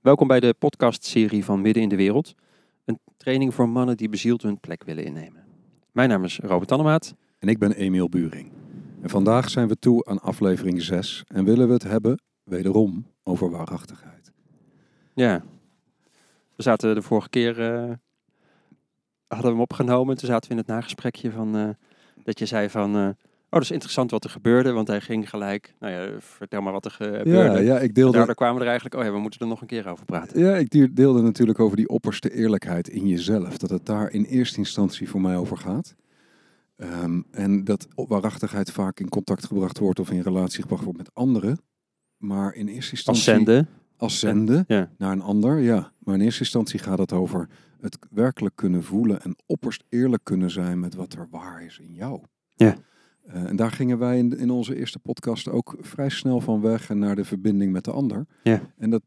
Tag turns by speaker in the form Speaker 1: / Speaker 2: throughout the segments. Speaker 1: Welkom bij de podcastserie van Midden in de Wereld. Een training voor mannen die bezield hun plek willen innemen. Mijn naam is Robert Tannemaat.
Speaker 2: En ik ben Emiel Buring. En vandaag zijn we toe aan aflevering 6 en willen we het hebben, wederom, over waarachtigheid.
Speaker 1: Ja, we zaten de vorige keer, eh, hadden we hem opgenomen. Toen zaten we in het nagesprekje van, eh, dat je zei van, eh, oh dat is interessant wat er gebeurde. Want hij ging gelijk, nou ja, vertel maar wat er ge-
Speaker 2: Ja,
Speaker 1: gebeurde.
Speaker 2: ja, ik
Speaker 1: En
Speaker 2: deelde,
Speaker 1: Daardoor kwamen we er eigenlijk, oh ja, we moeten er nog een keer over praten.
Speaker 2: ja, ik duur- deelde natuurlijk over die opperste eerlijkheid in jezelf. Dat het daar in eerste instantie voor mij over gaat. Ehm, en dat op- waarachtigheid vaak in contact gebracht wordt of in relatie gebracht wordt met anderen. Maar in
Speaker 1: Als
Speaker 2: eerste instantie...
Speaker 1: zenden.
Speaker 2: als zenden
Speaker 1: Ja.
Speaker 2: naar een ander, ja. Maar in eerste instantie gaat het over het werkelijk kunnen voelen en opperst eerlijk kunnen zijn met wat er waar is in jou.
Speaker 1: Ja.
Speaker 2: Eh, en daar gingen wij in, in onze eerste podcast ook vrij snel van weg en naar de verbinding met de ander.
Speaker 1: Ja.
Speaker 2: En dat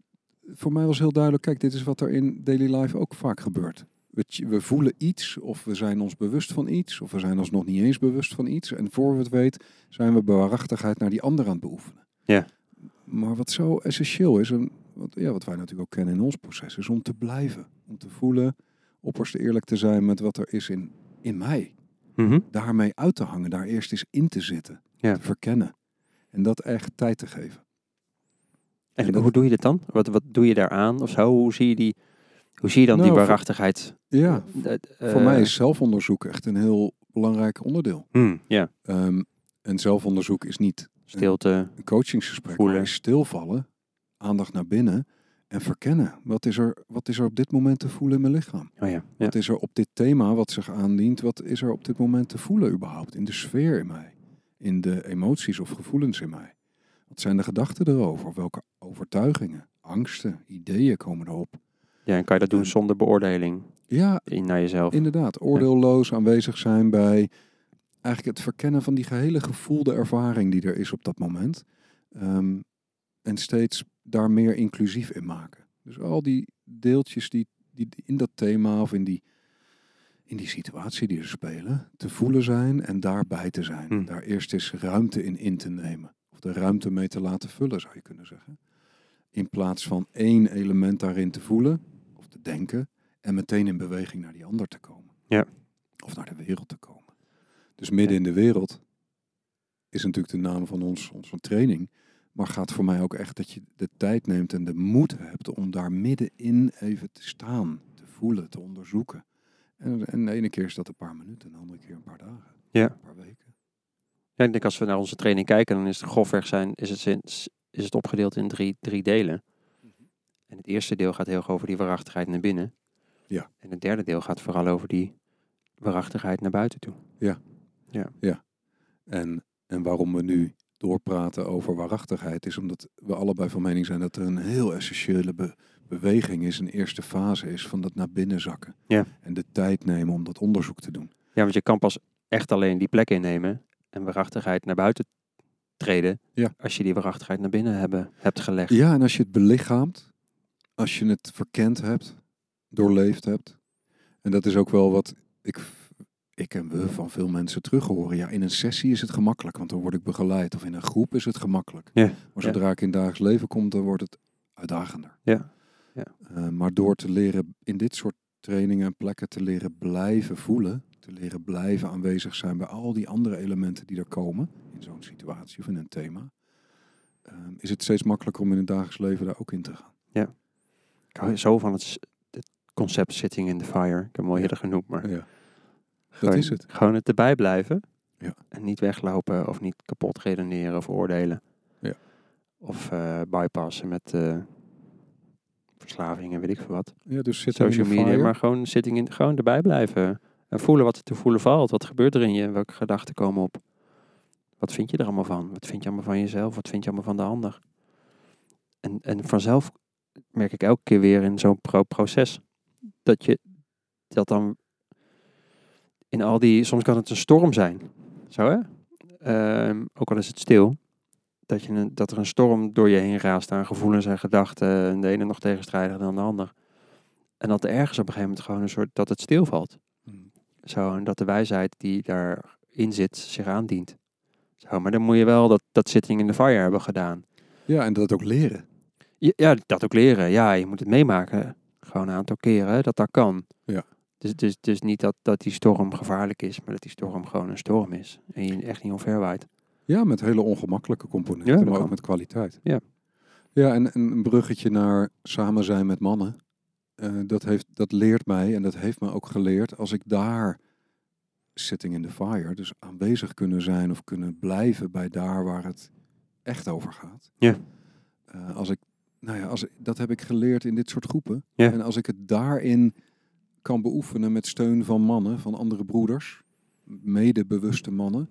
Speaker 2: voor mij was heel duidelijk, kijk, dit is wat er in daily life ook vaak gebeurt. We, ch- we voelen iets, of we zijn ons bewust van iets, of we zijn ons nog niet eens bewust van iets. En voor we het weten, zijn we bewaarachtigheid naar die ander aan het beoefenen.
Speaker 1: Ja.
Speaker 2: Maar wat zo essentieel is, en wat, ja, wat wij natuurlijk ook kennen in ons proces, is om te blijven. Om te voelen, opperst eerlijk te zijn met wat er is in, in mij.
Speaker 1: Mhm.
Speaker 2: Daarmee uit te hangen, daar eerst eens in te zitten.
Speaker 1: Ja.
Speaker 2: Te verkennen. En dat echt tijd te geven.
Speaker 1: En
Speaker 2: En dat-
Speaker 1: hoe doe je dat dan? Wat, wat doe je daaraan of zo? Hoe zie je, die, hoe zie je dan
Speaker 2: Nou,
Speaker 1: die
Speaker 2: voor-
Speaker 1: waarachtigheid?
Speaker 2: Ja,
Speaker 1: Eh,
Speaker 2: voor mij is zelfonderzoek echt een heel belangrijk onderdeel.
Speaker 1: Hmm, ja,
Speaker 2: Ehm, en zelfonderzoek is niet
Speaker 1: stilte.
Speaker 2: een coachingsgesprek,
Speaker 1: Voelen.
Speaker 2: maar is stilvallen, aandacht naar binnen en verkennen. Wat is, er, wat is er op dit moment te voelen in mijn lichaam?
Speaker 1: Oh ja, ja.
Speaker 2: Wat is er op dit thema wat zich aandient? Wat is er op dit moment te voelen überhaupt? In de sfeer in mij? In de emoties of gevoelens in mij? Wat zijn de gedachten erover? Welke overtuigingen, angsten, ideeën komen erop?
Speaker 1: ja, en kan je dat doen
Speaker 2: En-
Speaker 1: zonder beoordeling
Speaker 2: Ja,
Speaker 1: in, naar jezelf?
Speaker 2: inderdaad. Oordeelloos aanwezig zijn bij eigenlijk het verkennen van die gehele gevoelde ervaring die er is op dat moment. Ehm, en steeds daar meer inclusief in maken. Dus al die deeltjes die, die in dat thema of in die, in die situatie die er spelen, te voelen zijn en daarbij te zijn.
Speaker 1: Hm.
Speaker 2: Daar eerst eens ruimte in in te nemen. Of de ruimte mee te laten vullen, zou je kunnen zeggen. In plaats van één element daarin te voelen of te denken en meteen in beweging naar die ander te komen.
Speaker 1: Ja.
Speaker 2: Of naar de wereld te komen. Dus midden in de wereld is natuurlijk de naam van ons, onze training. Maar gaat voor mij ook echt dat je de tijd neemt en de moed hebt om daar middenin even te staan, te voelen, te onderzoeken. En, en de ene keer is dat een paar minuten, en de andere keer een paar dagen,
Speaker 1: Ja.
Speaker 2: een paar weken.
Speaker 1: Ja, ik denk als we naar onze training kijken, dan is het grofweg zijn, is het, sinds- is het opgedeeld in drie, drie delen.
Speaker 2: Mhm.
Speaker 1: En het eerste deel gaat heel erg over die waarachtigheid naar binnen.
Speaker 2: Ja.
Speaker 1: En het derde deel gaat vooral over die waarachtigheid naar buiten toe.
Speaker 2: En, en waarom we nu doorpraten over waarachtigheid is omdat we allebei van mening zijn dat er een heel essentiële be- beweging is, een eerste fase is van dat naar binnen zakken.
Speaker 1: Ja.
Speaker 2: En de tijd nemen om dat onderzoek te doen.
Speaker 1: Ja, want je kan pas echt alleen die plek innemen en waarachtigheid naar buiten treden.
Speaker 2: Ja.
Speaker 1: Als je die waarachtigheid naar binnen hebben, hebt gelegd.
Speaker 2: Ja, en als je het belichaamt, als je het verkend hebt, doorleefd hebt. En dat is ook wel wat ik, ik en we van veel mensen terug horen. Ja, in een sessie is het gemakkelijk, want dan word ik begeleid. Of in een groep is het gemakkelijk.
Speaker 1: Ja,
Speaker 2: Maar
Speaker 1: ja.
Speaker 2: zodra ik in dagelijks leven kom, dan wordt het uitdagender.
Speaker 1: Ja, ja.
Speaker 2: Eh, maar door te leren in dit soort trainingen en plekken te leren blijven voelen, te leren blijven aanwezig zijn bij al die andere elementen die er komen in zo'n situatie of in een thema, ehm, is het steeds makkelijker om in het dagelijks leven daar ook in te gaan.
Speaker 1: Ik hou zo van het, s- het concept sitting in the fire. Ik heb hem al eerder genoemd, maar
Speaker 2: Ja.
Speaker 1: gewoon,
Speaker 2: is het.
Speaker 1: Gewoon het erbij blijven.
Speaker 2: Ja.
Speaker 1: En niet weglopen of niet kapot redeneren of oordelen.
Speaker 2: Ja.
Speaker 1: Of eh, bypassen met eh, verslaving en weet ik veel wat.
Speaker 2: ja, dus zit
Speaker 1: Social media, maar gewoon, sitting in, gewoon erbij blijven. En voelen wat er te voelen valt. Wat gebeurt er in je? Welke gedachten komen op? Wat vind je er allemaal van? Wat vind je allemaal van jezelf? Wat vind je allemaal van de ander? En, en vanzelf merk ik elke keer weer in zo'n pro- proces dat je dat dan in al die, soms kan het een storm zijn. Zo hè? Ehm, ook al is het stil. Dat, je een, dat er een storm door je heen raast aan gevoelens en gedachten. En de ene nog tegenstrijdiger dan de ander. En dat er ergens op een gegeven moment gewoon een soort dat het stilvalt.
Speaker 2: Mm.
Speaker 1: Zo, en dat de wijsheid die daarin zit zich aandient. Zo, maar dan moet je wel dat, dat sitting in the fire hebben gedaan.
Speaker 2: Ja, en dat ook leren.
Speaker 1: Ja, ja, dat ook leren. Ja, je moet het meemaken. Gewoon een aantal keren hè, dat dat kan.
Speaker 2: Ja.
Speaker 1: Dus, dus, dus niet dat, dat die storm gevaarlijk is, maar dat die storm gewoon een storm is. En je echt niet omver waait.
Speaker 2: Ja, met hele ongemakkelijke
Speaker 1: Ja,
Speaker 2: componenten,
Speaker 1: dat
Speaker 2: maar ook
Speaker 1: kan.
Speaker 2: met kwaliteit.
Speaker 1: Ja.
Speaker 2: Ja, en, en een bruggetje naar samen zijn met mannen. Eh, dat, heeft, dat leert mij en dat heeft me ook geleerd als ik daar sitting in the fire, dus aanwezig kunnen zijn of kunnen blijven bij daar waar het echt over gaat.
Speaker 1: Ja.
Speaker 2: Eh, als ik, nou ja, als, ik- dat heb ik geleerd in dit soort groepen.
Speaker 1: Ja.
Speaker 2: En als ik het daarin kan beoefenen met steun van mannen, van andere broeders, medebewuste mannen,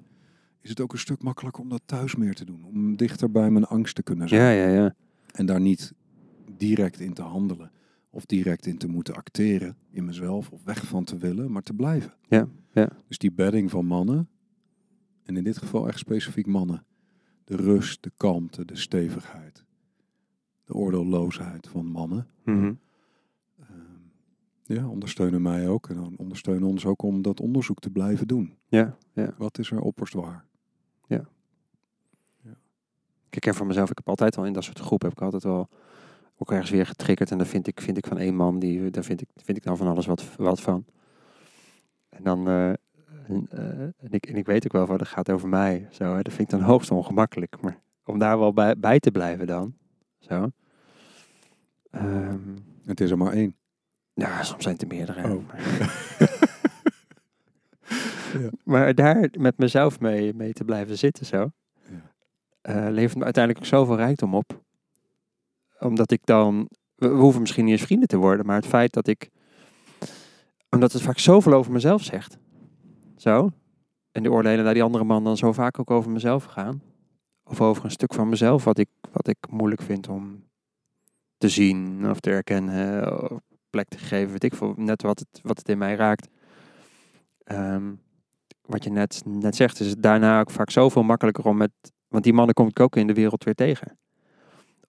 Speaker 2: is het ook een stuk makkelijker om dat thuis meer te doen. Om dichter bij mijn angst te kunnen zijn.
Speaker 1: Ja, ja, ja.
Speaker 2: En daar niet direct in te handelen. Of direct in te moeten acteren in mezelf. Of weg van te willen, maar te blijven.
Speaker 1: Ja, ja.
Speaker 2: Dus die bedding van mannen. En in dit geval echt specifiek mannen. De rust, de kalmte, de stevigheid. De oordeelloosheid van mannen.
Speaker 1: Mhm.
Speaker 2: Ehm, ja, ondersteunen mij ook. En dan ondersteunen ons ook om dat onderzoek te blijven doen.
Speaker 1: ja, ja.
Speaker 2: Wat is er opperst waar?
Speaker 1: Ik ken voor mezelf, ik heb altijd al in dat soort groepen, heb ik altijd wel ook ergens weer getriggerd. En dan vind ik, vind ik van één man, die, daar vind ik, vind ik dan van alles wat, wat van. En dan, eh, en, eh, en, ik, en ik weet ook wel van, dat gaat over mij. Zo, hè. Dat vind ik dan hoogst ongemakkelijk. Maar om daar wel bij, bij te blijven dan, zo. Ehm,
Speaker 2: Het is er maar één.
Speaker 1: ja, soms zijn het er meerdere.
Speaker 2: Oh. Ja.
Speaker 1: Maar daar met mezelf mee, mee te blijven zitten zo, eh, levert me uiteindelijk ook zoveel rijkdom op. Omdat ik dan, we, we hoeven misschien niet eens vrienden te worden, maar het feit dat ik, omdat het vaak zoveel over mezelf zegt, zo, en de oordelen naar die andere man dan zo vaak ook over mezelf gaan, of over een stuk van mezelf wat ik, wat ik moeilijk vind om te zien of te erkennen, of plek te geven, weet ik veel, net wat het, wat het in mij raakt. Ehm, wat je net, net zegt, is het daarna ook vaak zoveel makkelijker om met. Want die mannen kom ik ook in de wereld weer tegen.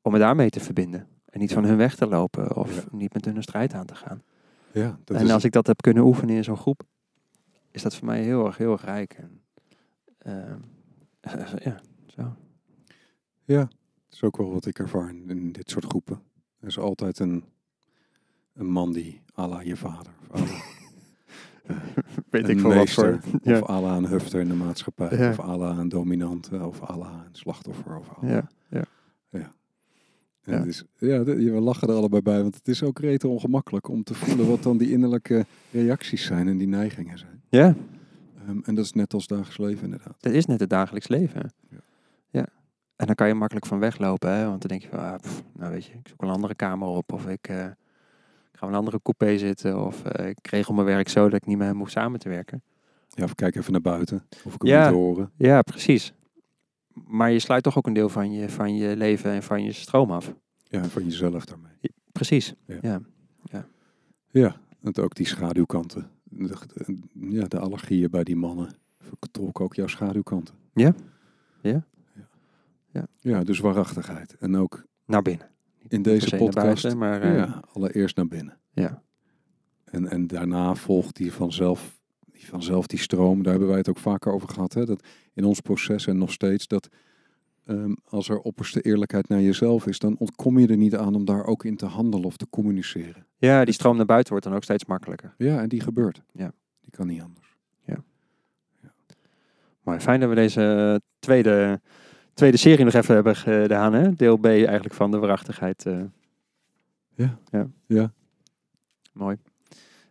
Speaker 1: Om me daarmee te verbinden. En niet van hun weg te lopen of
Speaker 2: Ja.
Speaker 1: niet met hun een strijd aan te gaan.
Speaker 2: Ja, dat
Speaker 1: en
Speaker 2: is
Speaker 1: als ik dat heb kunnen oefenen in zo'n groep, is dat voor mij heel erg, heel erg rijk. En, ehm, ja, zo.
Speaker 2: Dat is ook wel wat ik ervaar in, in dit soort groepen. Er is altijd een, een man die ala je vader of à la
Speaker 1: Weet
Speaker 2: een meester
Speaker 1: Ja.
Speaker 2: of ala een hufter in de maatschappij
Speaker 1: Ja.
Speaker 2: of ala een dominante of ala een slachtoffer of à la-
Speaker 1: Ja, ja.
Speaker 2: En
Speaker 1: ja.
Speaker 2: het is, ja, de- je- we lachen er allebei bij, want het is ook rete ongemakkelijk om te voelen wat dan die innerlijke reacties zijn en die neigingen zijn.
Speaker 1: ja,
Speaker 2: Ehm, en dat is net als dagelijks leven inderdaad.
Speaker 1: dat is net het dagelijks leven.
Speaker 2: Ja.
Speaker 1: Ja. En dan kan je makkelijk van weglopen, hè? want dan denk je van, ah, pff, nou weet je, ik zoek een andere kamer op of ik eh, ik ga in een andere coupé zitten of eh, ik kreeg op mijn werk zo dat ik niet met hem hoef samen te werken.
Speaker 2: Ja, of kijk even naar buiten of ik hem
Speaker 1: Ja.
Speaker 2: moet horen.
Speaker 1: Ja, precies. Maar je sluit toch ook een deel van je, van je leven en van je stroom af.
Speaker 2: Ja, en van jezelf daarmee.
Speaker 1: Precies.
Speaker 2: Ja.
Speaker 1: Ja.
Speaker 2: Ja, want ook die schaduwkanten. De, de- ja, de allergieën bij die mannen vertolken ook jouw schaduwkanten.
Speaker 1: Ja. Ja.
Speaker 2: Ja.
Speaker 1: Ja.
Speaker 2: Ja, dus waarachtigheid. En ook
Speaker 1: Naar binnen. Niet
Speaker 2: in deze
Speaker 1: per se naar
Speaker 2: podcast,
Speaker 1: buiten, maar eh,
Speaker 2: ja, allereerst naar binnen.
Speaker 1: ja.
Speaker 2: En, en daarna volgt die vanzelf, die vanzelf die stroom. Daar hebben wij het ook vaker over gehad. Hè? Dat in ons proces en nog steeds dat ehm, als er opperste eerlijkheid naar jezelf is, dan ontkom je er niet aan om daar ook in te handelen of te communiceren.
Speaker 1: ja, die stroom naar buiten wordt dan ook steeds makkelijker.
Speaker 2: Ja, en die gebeurt.
Speaker 1: Ja.
Speaker 2: Die kan niet anders.
Speaker 1: Maar fijn dat we deze eh, tweede, tweede serie nog even hebben gedaan. Hè? Deel B eigenlijk van de waarachtigheid. eh.
Speaker 2: Ja.
Speaker 1: ja.
Speaker 2: Ja.
Speaker 1: Mooi.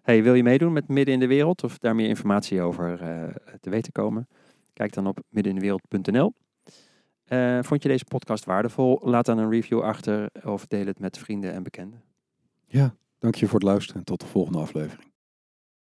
Speaker 1: Hey, wil je meedoen met Midden in de Wereld of daar meer informatie over eh, te weten komen? Kijk dan op middenindewereld.nl. Eh, vond je deze podcast waardevol? Laat dan een review achter of deel het met vrienden en bekenden.
Speaker 2: Ja, dank je voor het luisteren en tot de volgende aflevering.